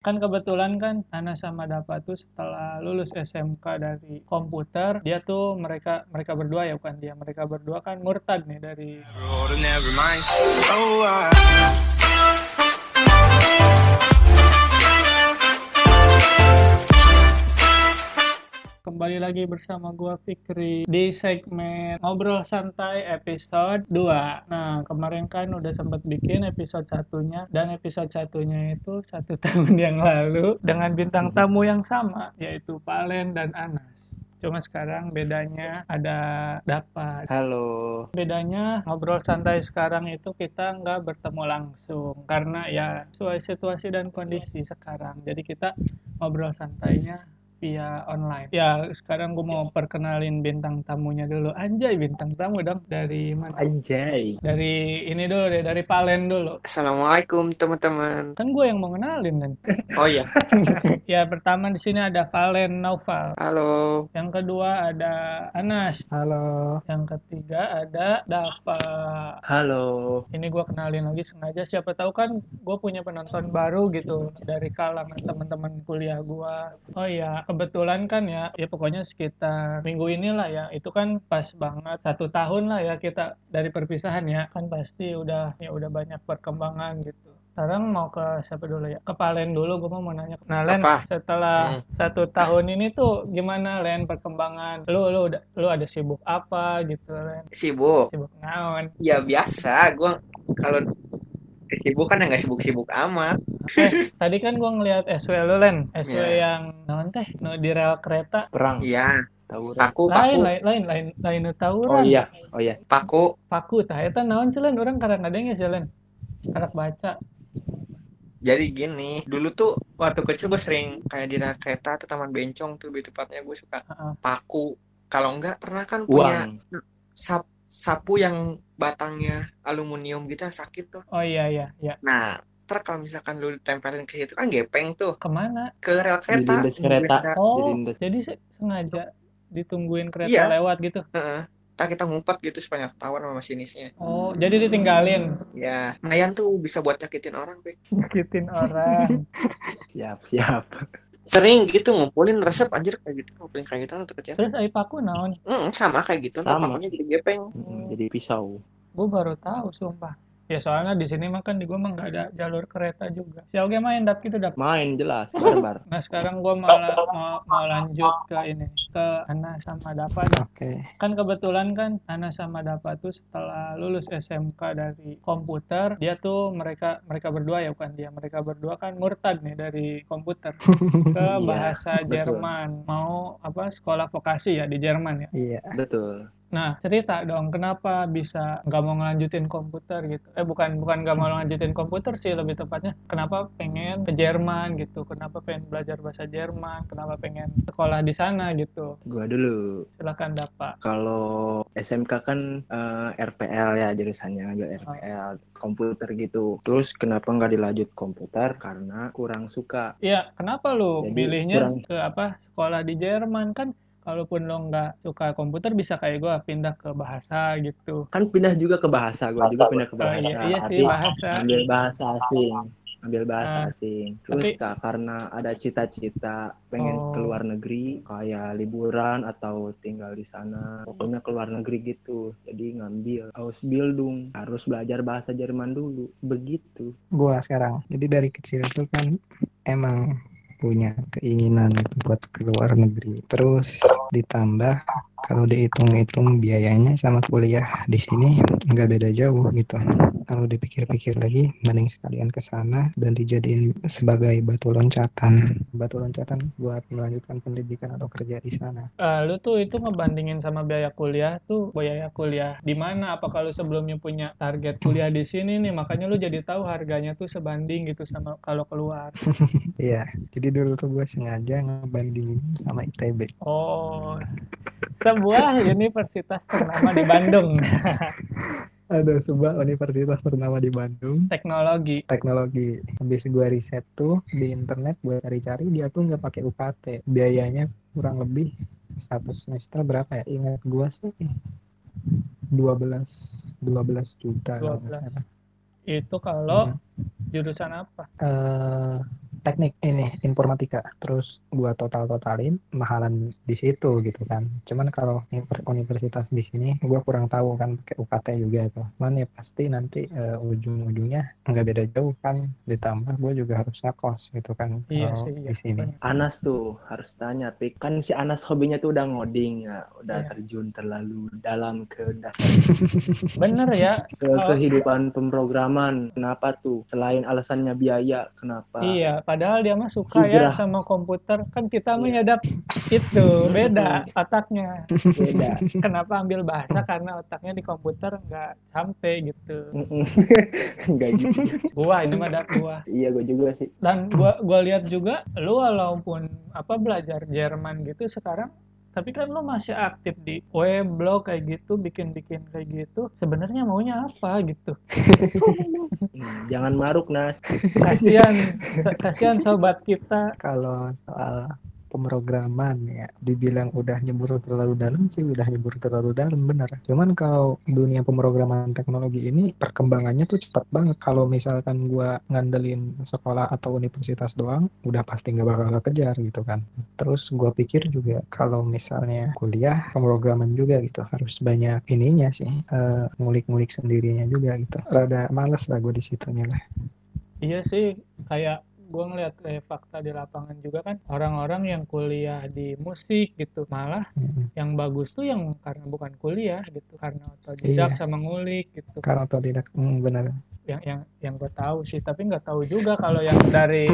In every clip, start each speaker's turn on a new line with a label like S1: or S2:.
S1: Kan kebetulan kan Hana sama Dapa tuh setelah lulus SMK dari komputer, dia tuh mereka mereka berdua ya bukan dia, mereka berdua kan murtad nih dari
S2: Road and never mind. Oh, I.
S1: kembali lagi bersama gua Fikri di segmen ngobrol santai episode 2. Nah, kemarin kan udah sempat bikin episode satunya dan episode satunya itu satu tahun yang lalu dengan bintang tamu yang sama yaitu Palen dan Anas. Cuma sekarang bedanya ada dapat
S3: Halo.
S1: bedanya ngobrol santai sekarang itu kita nggak bertemu langsung karena ya sesuai situasi dan kondisi sekarang jadi kita ngobrol santainya via online ya sekarang gue mau perkenalin bintang tamunya dulu anjay bintang tamu dong dari mana
S3: Anjay.
S1: dari ini dulu deh dari Palen dulu
S2: Assalamualaikum teman-teman.
S1: kan gue yang mau kenalin kan
S2: Oh iya.
S1: ya pertama di sini ada Valen Naufal
S2: Halo.
S1: yang kedua ada Anas
S3: Halo.
S1: yang ketiga ada Dava
S3: Halo.
S1: ini gue kenalin lagi sengaja siapa tahu kan gue punya penonton baru gitu dari kalangan teman-teman kuliah gue oh iya kebetulan kan ya ya pokoknya sekitar minggu inilah ya itu kan pas banget satu tahun lah ya kita dari perpisahan ya kan pasti udah ya udah banyak perkembangan gitu sekarang mau ke siapa dulu ya ke Palen dulu gue mau mau nanya nah Len
S2: Apa?
S1: setelah satu tahun ini tuh gimana Len perkembangan lu lu udah lu ada sibuk apa gitu Len
S2: Sibuk.
S1: sibuk naon
S2: Ya biasa. Gue kalau sibuk kan ya nggak sibuk-sibuk amat.
S1: Eh, tadi kan gua ngelihat SW lu, Len. SW
S2: Iya.
S1: yang non teh, no di rel kereta.
S3: Perang.
S2: Iya.
S3: Tawuran.
S2: Paku,
S1: Lain,
S2: paku,
S1: lain, lain, lain, lain nu tawuran.
S3: Oh iya. Oh iya.
S2: paku.
S1: Paku tah eta naon sih, Len? Urang kadang-kadang ya sih, Len. Karak baca.
S2: Jadi gini, dulu tuh waktu kecil gue sering kayak di rel kereta atau taman bencong tuh lebih tepatnya gue suka
S1: Heeh.
S2: paku. Kalau enggak pernah kan punya
S3: Uang.
S2: sap- sapu yang batangnya aluminium gitu yang sakit tuh.
S1: Oh iya, iya, iya.
S2: Nah, ntar kalau misalkan lu tempelin ke situ kan gepeng tuh
S1: Kemana?
S2: ke rel kereta.
S3: Dilindes kereta.
S1: Oh,
S3: Dilindes.
S1: jadi se- sengaja ditungguin kereta
S2: Iya.
S1: lewat gitu.
S2: Heeh. Ntar kita ngumpet gitu sepanjang tawar sama masinisnya.
S1: Oh, jadi ditinggalin.
S2: Ya, lumayan tuh bisa buat nyakitin orang, Bek.
S1: Nyakitin orang.
S3: Siap siap.
S2: Sering gitu ngumpulin resep anjir kayak gitu, ngumpulin kayak gitu waktu kecil.
S1: Terus ai paku naon?
S2: Mm, sama kayak gitu, ntar
S3: Sama.
S2: pakunya jadi gepeng.
S3: Mm, Jadi pisau.
S1: Gue baru tahu, sumpah. Ya soalnya di sini mah kan di gua mah nggak ada jalur kereta juga. Si Oge main dap gitu dap.
S3: Main jelas. Barbar.
S1: Nah sekarang gue malah mau, mau lanjut ke ini ke Ana sama Dapa dah.
S3: Oke.
S1: Kan kebetulan kan Ana sama Dapa tuh setelah lulus SMK dari komputer dia tuh mereka mereka berdua ya bukan dia mereka berdua kan murtad nih dari komputer ke
S3: Iya,
S1: bahasa
S3: betul.
S1: Jerman mau apa sekolah vokasi ya di Jerman ya.
S4: Iya,
S3: Betul.
S1: Nah cerita dong kenapa bisa nggak mau ngelanjutin komputer gitu? Eh bukan bukan nggak mau
S3: Hmm.
S1: ngelanjutin komputer sih lebih tepatnya kenapa pengen ke Jerman gitu? Kenapa pengen belajar bahasa Jerman? Kenapa pengen sekolah di sana gitu?
S3: Gua dulu.
S1: Silakan dapat.
S3: Kalau SMK kan eh, RPL ya jurusannya ngambil RPL komputer gitu. Terus kenapa nggak dilanjut komputer? Karena kurang suka.
S1: Iya kenapa lu
S3: Jadi,
S1: pilihnya
S3: kurang.
S1: ke apa sekolah di Jerman kan? Kalaupun lo nggak suka komputer bisa kayak gua pindah ke bahasa gitu.
S3: Kan pindah juga ke bahasa. Gua juga pindah ke
S1: Oh,
S3: bahasa.
S1: iya, iya sih
S3: Tapi
S1: bahasa.
S3: ambil bahasa asing ambil bahasa
S1: Iya. Ah,
S3: asing terus
S1: tapi-
S3: Kak, karena ada cita-cita pengen
S1: Oh.
S3: keluar negeri kayak liburan atau tinggal di sana pokoknya keluar negeri gitu jadi ngambil Ausbildung harus belajar bahasa Jerman dulu begitu
S4: gua sekarang. Jadi dari kecil tuh kan emang punya keinginan buat ke luar negeri. Terus ditambah kalau dihitung-hitung biayanya sama kuliah di sini nggak beda jauh gitu. Kalau dipikir-pikir lagi, mending sekalian ke sana dan dijadiin sebagai batu loncatan, batu loncatan buat melanjutkan pendidikan atau kerja di sana.
S1: Eh, lu tuh itu ngebandingin sama biaya kuliah tuh biaya kuliah di mana apa kalau sebelumnya punya target kuliah di sini nih makanya lu jadi tahu harganya tuh sebanding gitu sama kalau keluar
S4: Iya, jadi dulu tuh gue sengaja ngebandingin sama ITB.
S1: oh sebuah universitas ternama di Bandung
S4: Ada sebuah universitas bernama di Bandung
S1: teknologi
S4: teknologi. Habis gua riset tuh di internet gua cari-cari dia tuh nggak pakai UKT. Biayanya kurang lebih satu semester berapa ya? Ingat gua sih 12 12 juta kalau nggak
S1: 12.
S4: salah.
S1: itu kalau jurusan apa
S4: Eh, teknik ini informatika terus gua total totalin mahalan di situ gitu kan cuman kalau univer- universitas di sini gua kurang tahu kan kayak UKT juga itu cuman ya pasti nanti ujung ujungnya nggak beda jauh kan ditambah gua juga harus ngekos gitu kan
S1: Iya
S4: kalau
S1: sih, iya.
S4: di sini
S3: Anas tuh harus tanya, Pik. Kan si Anas hobinya tuh udah ngoding ya, udah
S1: Iya.
S3: terjun terlalu dalam ke
S1: Bener ya,
S3: ke
S1: Oh.
S3: kehidupan pemrograman. Kenapa tuh? Selain alasannya biaya, kenapa?
S1: Iya, padahal dia mah suka ya
S3: Hijrah.
S1: sama komputer. Kan kita
S3: Iya.
S1: menyadap itu beda otaknya.
S3: Beda.
S1: Kenapa ambil bahasa karena otaknya di komputer nggak sampai gitu.
S3: Mm-mm. Nggak gitu.
S1: Gua ini mah dap gua.
S3: Iya, gue juga sih.
S1: Dan gua gua lihat juga lu walaupun apa belajar Jerman gitu sekarang tapi kan lu masih aktif di weblog kayak gitu, bikin-bikin kayak gitu. Sebenarnya maunya apa gitu?
S3: Hmm, Jangan maruk, Nas.
S1: Kasihan, kasihan sobat kita.
S4: kalau soal pemrograman ya dibilang udah nyebur terlalu dalam sih udah nyebur terlalu dalam benar cuman kalau dunia pemrograman teknologi ini perkembangannya tuh cepat banget kalau misalkan gua ngandelin sekolah atau universitas doang udah pasti nggak bakal kekejar gitu kan terus gua pikir juga kalau misalnya kuliah pemrograman juga gitu harus banyak ininya sih eh, ngulik-ngulik sendirinya juga gitu rada males lah gue di situnya lah
S1: Iya sih, kayak gue ngeliat kayak fakta di lapangan juga kan orang-orang yang kuliah di musik gitu malah
S4: Mm.
S1: yang bagus tuh yang karena bukan kuliah gitu karena otodidak
S4: Iya.
S1: sama ngulik gitu
S4: karena tidak hmm, benar
S1: yang yang yang gue tahu sih tapi nggak tahu juga kalau yang dari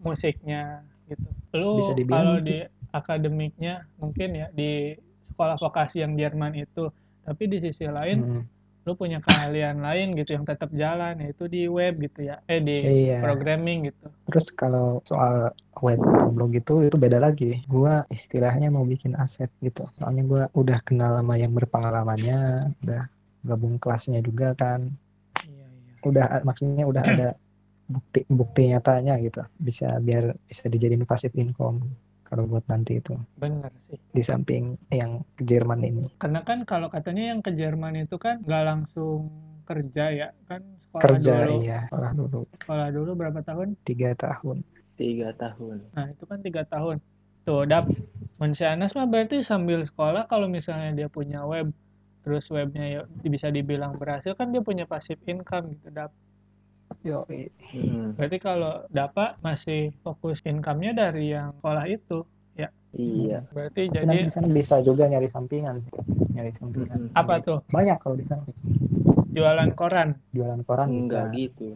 S1: musiknya gitu lu
S4: Bisa dibilang
S1: kalau
S4: gitu.
S1: di akademiknya mungkin ya di sekolah vokasi yang Jerman itu tapi di sisi lain
S4: Hmm.
S1: lu punya keahlian lain gitu yang tetap jalan yaitu di web gitu ya eh di
S4: iya
S1: programming gitu
S4: Terus kalau soal web atau blog gitu, itu itu beda lagi. Gua istilahnya mau bikin aset gitu. Soalnya gua udah kenal sama yang berpengalamannya, udah gabung kelasnya juga kan.
S1: iya iya
S4: Udah maksudnya udah ada bukti bukti nyatanya gitu. Bisa biar bisa dijadiin passive income kalau buat nanti itu
S1: bener sih
S4: di samping yang ke Jerman ini
S1: Karena kan kalau katanya yang ke Jerman itu kan nggak langsung kerja ya kan sekolah
S4: kerja
S1: dulu
S4: iya sekolah dulu
S1: sekolah dulu berapa tahun
S4: tiga tahun
S3: Tiga tahun.
S1: nah itu kan tiga tahun tuh dap mun si Anas mah berarti sambil sekolah kalau misalnya dia punya web terus webnya ya bisa dibilang berhasil kan dia punya passive income gitu dap
S4: yo
S3: Mm-mm.
S1: berarti kalau dapat masih fokus income-nya dari yang sekolah itu
S3: Iya.
S1: berarti jadi
S4: nanti di sana bisa juga nyari sampingan sih nyari sampingan
S3: Mm-mm.
S1: apa tuh
S4: banyak kalau di sana
S1: jualan koran
S4: jualan koran
S3: Enggak
S4: bisa
S3: gitu.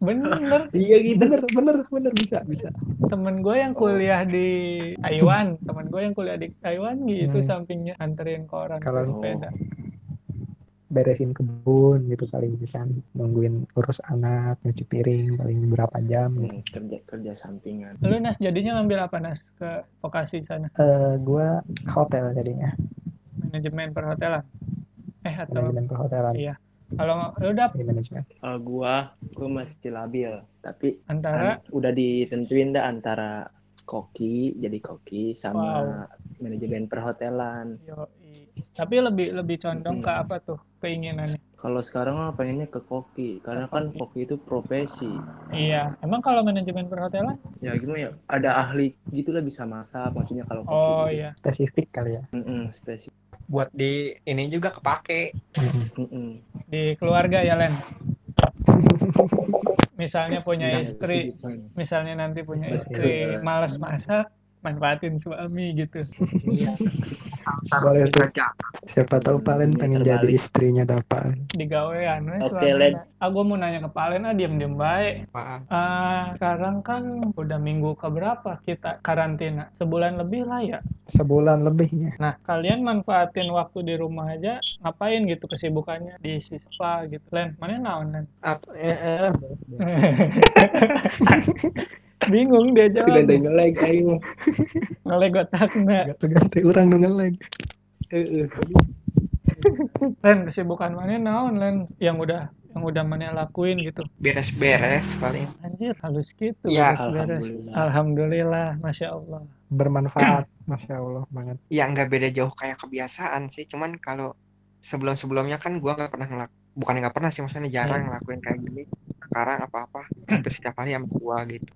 S1: bener
S3: Iya gitu.
S4: bener bener bener bisa bisa
S1: temen gue yang kuliah di Taiwan temen gue yang kuliah di Taiwan gitu
S4: Hmm.
S1: sampingnya anterin koran
S4: Kalau-
S1: ke sepeda
S4: beresin kebun gitu paling bisa nungguin urus anak nyuci piring paling berapa jam gitu.
S3: Hmm, kerja kerja sampingan.
S4: Oh.
S1: lu nas jadinya ngambil apa nas ke vokasi sana
S4: Eh, gua ke hotel jadinya
S1: manajemen perhotelan eh atau
S4: manajemen perhotelan
S1: Iya. kalau lu dap
S4: Iya, manajemen
S3: Kalau Eh, gua, gua masih labil, tapi
S1: antara
S3: an- udah ditentuin dah antara koki jadi koki sama manajemen perhotelan.
S1: yoi. tapi lebih lebih condong ke
S3: Hmm.
S1: apa tuh keinginannya
S3: Kalau sekarang mah pengennya ke koki karena kan koki itu profesi.
S1: iya emang kalau manajemen perhotelan
S3: Ya gimana ya? Ada ahli gitulah bisa masak maksudnya kalau koki.
S1: oh iya
S4: spesifik kali ya
S3: Mm-mm, spesifik.
S2: buat di ini juga kepake
S3: Mm-mm.
S1: di keluarga ya Len misalnya punya
S4: Iya,
S3: Nah,
S1: istri
S3: kehidupan.
S1: misalnya nanti punya
S3: Betul.
S1: istri malas masak manfaatin suami gitu
S2: iya
S4: Boleh tuh.
S2: Kerja.
S4: siapa tahu Palen
S3: Dunia
S4: pengen jadi
S3: terbalik.
S4: istrinya dapat
S1: digawean we,
S3: Oke,
S1: suami.
S3: Len.
S1: ah gua mau nanya ke Palen ah diem diem baik
S2: Maaf.
S1: ah sekarang kan udah minggu keberapa kita karantina sebulan lebih lah ya
S4: sebulan lebihnya
S1: nah kalian manfaatin waktu di rumah aja ngapain gitu kesibukannya di siswa gitu Len mana naon Len
S2: Apa, eh, eh,
S1: bingung dia
S3: Sudah
S1: jawab
S3: ada ngelag ayo.
S1: ngelegotakna
S4: ganti orang dong ngelag
S3: Ya. Heeh.
S1: Len kesibukan mana naon Len yang udah yang udah mana lakuin gitu
S2: beres-beres paling
S1: Anjir, halus gitu.
S2: Ya,
S1: beres-beres.
S3: Alhamdulillah.
S1: Alhamdulillah, Masya Allah.
S4: bermanfaat masya Allah banget
S2: ya nggak beda jauh kayak kebiasaan sih cuman kalau sebelum sebelumnya kan gua nggak pernah ngelak bukan nggak pernah sih maksudnya jarang ngelakuin kayak gini sekarang apa-apa hampir setiap hari sama gua gitu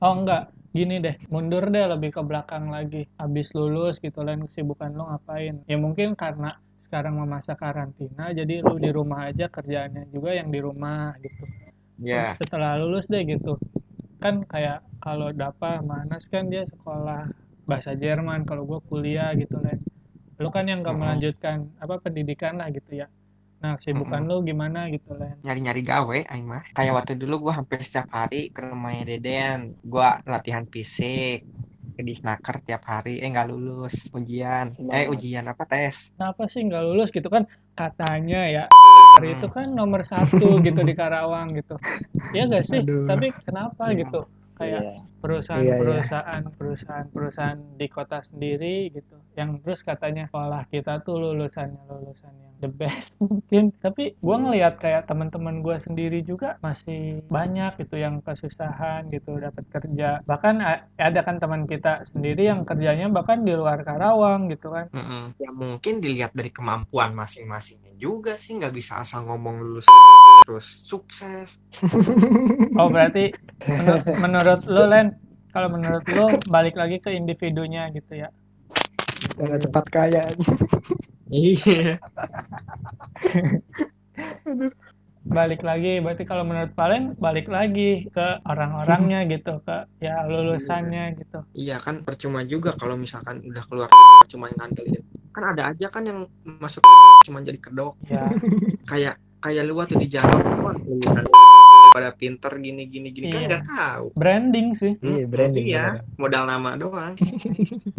S1: Oh enggak, gini deh, mundur deh lebih ke belakang lagi. Habis lulus gitu lain kesibukan lo ngapain? Ya mungkin karena sekarang masa karantina, jadi lu di rumah aja kerjaannya juga yang di rumah gitu.
S2: ya
S1: Setelah lulus deh gitu, kan kayak kalau Dapa Manas kan dia sekolah bahasa Jerman, kalau gua kuliah gitu lain. Lu kan yang gak
S2: Mhm.
S1: melanjutkan apa pendidikan lah gitu ya. Nah, kesibukan lu gimana gitu lain.
S2: nyari-nyari gawe aing mah kayak waktu dulu gua hampir setiap hari ke rumahnya Deden gua latihan fisik ke disnaker tiap hari eh nggak lulus ujian eh
S3: Semangat.
S2: ujian apa tes
S1: kenapa sih nggak lulus gitu kan katanya ya
S2: Hmm.
S1: hari itu kan nomor satu gitu di Karawang gitu ya nggak sih
S4: Aduh.
S1: tapi kenapa
S3: Iya.
S1: gitu kayak
S3: Iya.
S4: Iya, iya.
S1: perusahaan-perusahaan perusahaan-perusahaan di kota sendiri gitu yang terus katanya sekolah kita tuh lulusannya lulusan yang the best mungkin tapi gua ngelihat kayak teman-teman gua sendiri juga masih banyak gitu yang kesusahan gitu dapat kerja bahkan a- ada kan teman kita sendiri yang kerjanya bahkan di luar Karawang gitu kan
S2: Mm-mm. ya mungkin dilihat dari kemampuan masing-masingnya juga sih nggak bisa asal ngomong lulus terus sukses
S1: Oh berarti menur- menurut lu Len, kalau menurut lu balik lagi ke individunya gitu ya.
S4: Cara cepat kaya.
S2: iya
S1: Balik lagi berarti kalau menurut Valen balik lagi ke orang-orangnya gitu, ke ya lulusannya gitu.
S2: Iya kan percuma juga kalau misalkan udah keluar cuma ngandelin. Kan ada aja kan yang masuk cuma jadi kedok.
S1: Ya,
S2: Kayak kayak lu waktu di jalan wah, lulusan pada pinter gini gini gini kan
S1: Iya.
S2: nggak tahu.
S1: branding sih.
S4: Iya,
S3: Hmm,
S4: branding,
S2: Iya, modal nama doang.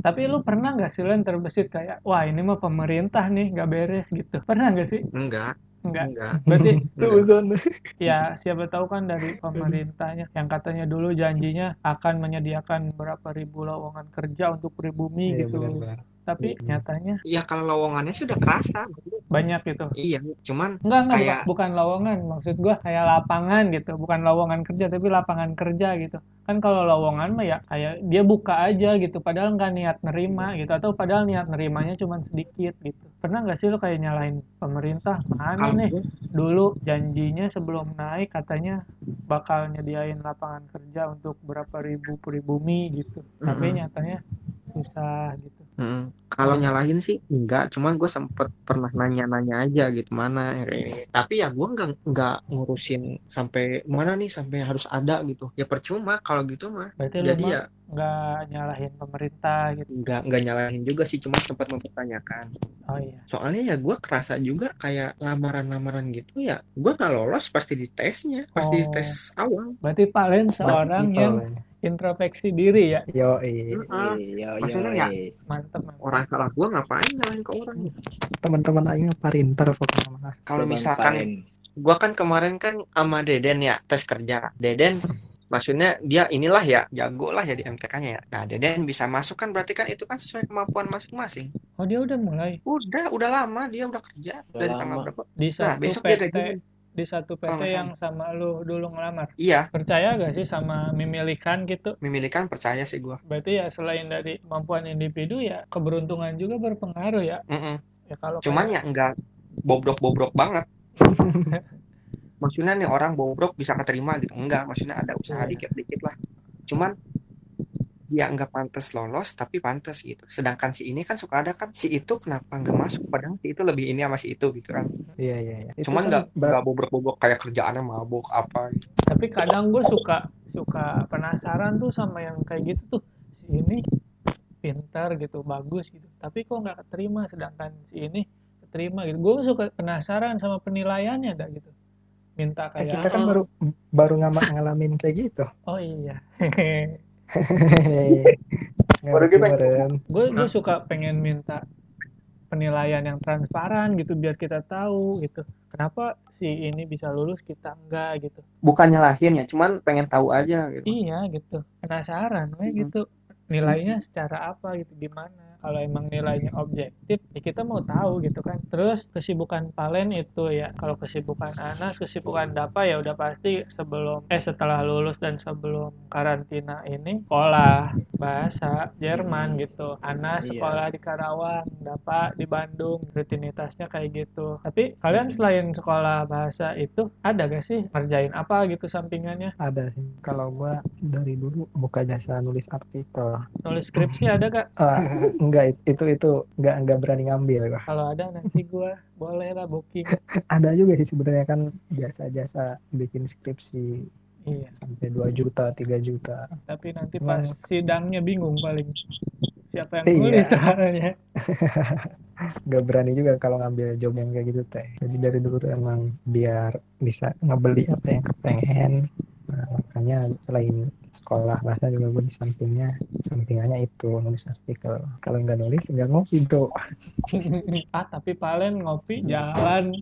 S1: Tapi lu pernah nggak sih Len terbesit kayak, wah ini mah pemerintah nih nggak beres gitu. Pernah nggak sih?
S2: Enggak,
S1: Enggak.
S2: enggak.
S1: Berarti
S2: enggak.
S1: ya siapa tahu kan dari pemerintahnya yang katanya dulu janjinya akan menyediakan berapa ribu lowongan kerja untuk pribumi
S4: Iya,
S1: gitu.
S4: benar-benar.
S1: Tapi
S4: Iya.
S1: nyatanya
S2: Iya kalau lowongannya sudah kerasa.
S1: banyak gitu.
S2: Iya, cuman
S1: Enggak, enggak, bukan-
S2: Kayak-
S1: bukan, lowongan. Maksud gua kayak lapangan gitu. Bukan lowongan kerja, tapi lapangan kerja gitu. Kan kalau lowongan mah ya kayak dia buka aja gitu. Padahal nggak niat nerima
S2: Iya.
S1: gitu. Atau padahal niat nerimanya cuma sedikit gitu. Pernah nggak sih lo kayak nyalain pemerintah? Mana
S2: kalau
S1: nih? Dulu janjinya sebelum naik katanya bakal nyediain lapangan kerja untuk berapa ribu pribumi gitu. Tapi
S2: Mm-mm.
S1: nyatanya susah gitu.
S2: Mm-mm. Kalau nyalahin sih enggak, cuman gue sempet pernah nanya-nanya aja gitu mana yang kayak ini. Tapi ya gue nggak nggak ngurusin sampai mana nih sampai harus ada gitu. Ya percuma kalau gitu mah.
S1: Berarti lo
S2: Jadi
S1: mah
S2: ya
S1: nggak nyalahin pemerintah gitu.
S2: nggak nggak nyalahin juga sih, cuman sempat mempertanyakan.
S1: Oh iya.
S2: Soalnya ya gue kerasa juga kayak lamaran-lamaran gitu ya. Gue nggak lolos pasti di tesnya, pasti di
S1: Oh.
S2: tes awal.
S1: Berarti Palen
S4: Iya,
S1: seorang yang introspeksi diri ya
S4: Yo,
S2: Heeh.
S3: Iya, iya,
S2: Maksudnya
S3: iya.
S2: nggak-
S1: mantep man.
S2: Orang salah gue ngapain nyalahin ke orang?
S4: teman-teman lainnya parinter pokoknya mah.
S2: Iya. Kalau
S3: Coba
S2: misalkan
S3: ngapain?
S2: gua kan kemarin kan sama Deden ya tes kerja Deden maksudnya dia inilah ya jago lah ya di MTK-nya ya nah Deden bisa masuk kan berarti kan itu kan sesuai kemampuan masing-masing
S1: oh dia udah mulai
S2: udah udah lama dia udah kerja
S3: Udah
S2: dari tanggal
S3: lama.
S2: berapa
S1: di
S2: nah
S1: satu
S2: besok dia
S1: PT
S2: gajian
S1: di satu
S2: Kalau
S1: PT
S2: nggak
S1: yang sama lu dulu ngelamar
S2: iya
S1: percaya gak sih sama memilikan gitu
S2: memilikan percaya sih gua
S1: berarti ya selain dari kemampuan individu ya keberuntungan juga berpengaruh ya
S2: Mm-mm.
S1: ya kalau
S2: cuman
S1: kayak-
S2: ya enggak bobrok-bobrok banget maksudnya nih orang bobrok bisa keterima gitu enggak maksudnya ada usaha
S1: Iya.
S2: dikit-dikit lah cuman dia nggak pantas lolos tapi pantas gitu sedangkan si ini kan suka ada kan si itu kenapa nggak masuk padahal si itu lebih ini sama si itu gitu kan
S4: Iya, iya, iya. Itu
S2: cuman
S4: kan
S2: nggak
S4: ba-
S2: nggak bobrok-bobrok kayak kerjaannya mabok apa gitu.
S1: tapi kadang gue suka suka penasaran tuh sama yang kayak gitu tuh si ini pintar gitu bagus gitu tapi kok nggak keterima sedangkan si ini keterima gitu gue suka penasaran sama penilaiannya dah gitu minta
S4: eh,
S1: kayak
S4: kita kan
S2: "Ah."
S4: baru baru ngama- ngalamin kayak gitu.
S1: oh iya
S2: Baru
S4: Ngerti,
S2: kita-
S4: Meren.
S1: gue gue
S2: Hah?
S1: suka pengen minta penilaian yang transparan gitu biar kita tahu gitu kenapa si ini bisa lulus kita enggak gitu
S2: bukan nyalahin ya cuman pengen tahu aja gitu
S1: iya gitu penasaran we,
S2: Mhm.
S1: gitu nilainya secara apa gitu gimana kalau emang nilainya objektif ya kita mau tahu gitu kan terus kesibukan Palen itu ya kalau kesibukan Anas kesibukan Dapa ya udah pasti sebelum eh setelah lulus dan sebelum karantina ini sekolah bahasa Jerman gitu. Ana
S3: Iya.
S1: sekolah di Karawang, Bapak di Bandung, rutinitasnya kayak gitu. Tapi kalian selain sekolah bahasa itu ada gak sih ngerjain apa gitu sampingannya?
S4: Ada sih. Kalau gua dari dulu buka jasa nulis artikel.
S1: Nulis skripsi ada gak?
S4: Ah, enggak it- itu itu enggak enggak berani ngambil gua.
S1: Kalau ada nanti gua boleh lah booking.
S4: Ada juga sih sebenarnya kan jasa-jasa bikin skripsi
S1: Iya,
S4: sampai 2 juta, 3 juta.
S1: tapi nanti pas
S4: Wah.
S1: sidangnya bingung paling siapa yang
S4: Iya.
S1: nulis soalnya.
S4: Enggak berani juga kalau ngambil job yang kayak gitu teh. Jadi dari dulu tuh emang biar bisa ngebeli apa yang kepengen. Nah, makanya selain sekolah bahasa juga gue di sampingnya sampingannya itu nulis artikel kalau nggak nulis nggak ngopi bro
S1: ah tapi Palen ngopi jalan.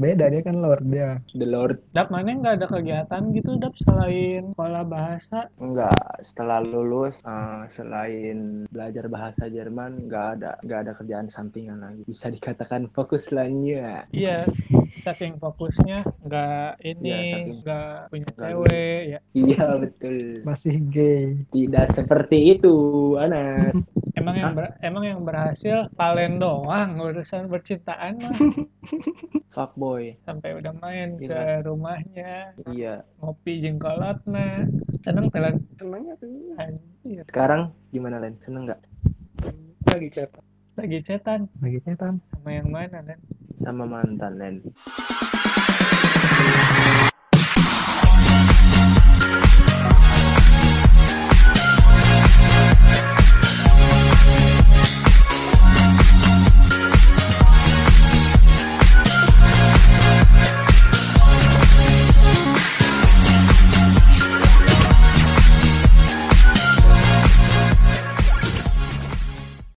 S4: beda dia kan lord dia
S3: The Lord
S1: Dap mana nggak ada kegiatan gitu Dap selain sekolah bahasa?
S3: enggak setelah lulus eh, selain belajar bahasa Jerman enggak ada enggak ada kerjaan sampingan lagi bisa dikatakan fokus lainnya
S1: Iya, saking fokusnya nggak
S3: Iya,
S1: ini
S3: saking-
S1: nggak punya
S3: nggak
S1: cewek ya.
S3: iya betul
S4: masih gay
S3: tidak seperti itu Anas
S1: Emang yang ber- emang yang berhasil Palen doang urusan percintaan mah
S3: fuckboy
S1: sampai udah main ke
S3: Iya.
S1: rumahnya
S3: iya
S1: ngopi jengkolotna. Seneng Palen
S2: Senangnya tuh
S1: anjir
S3: sekarang gimana Len seneng nggak
S2: lagi cetak.
S1: lagi cetan
S4: lagi cetan
S1: sama yang mana kan?
S3: sama mantan Len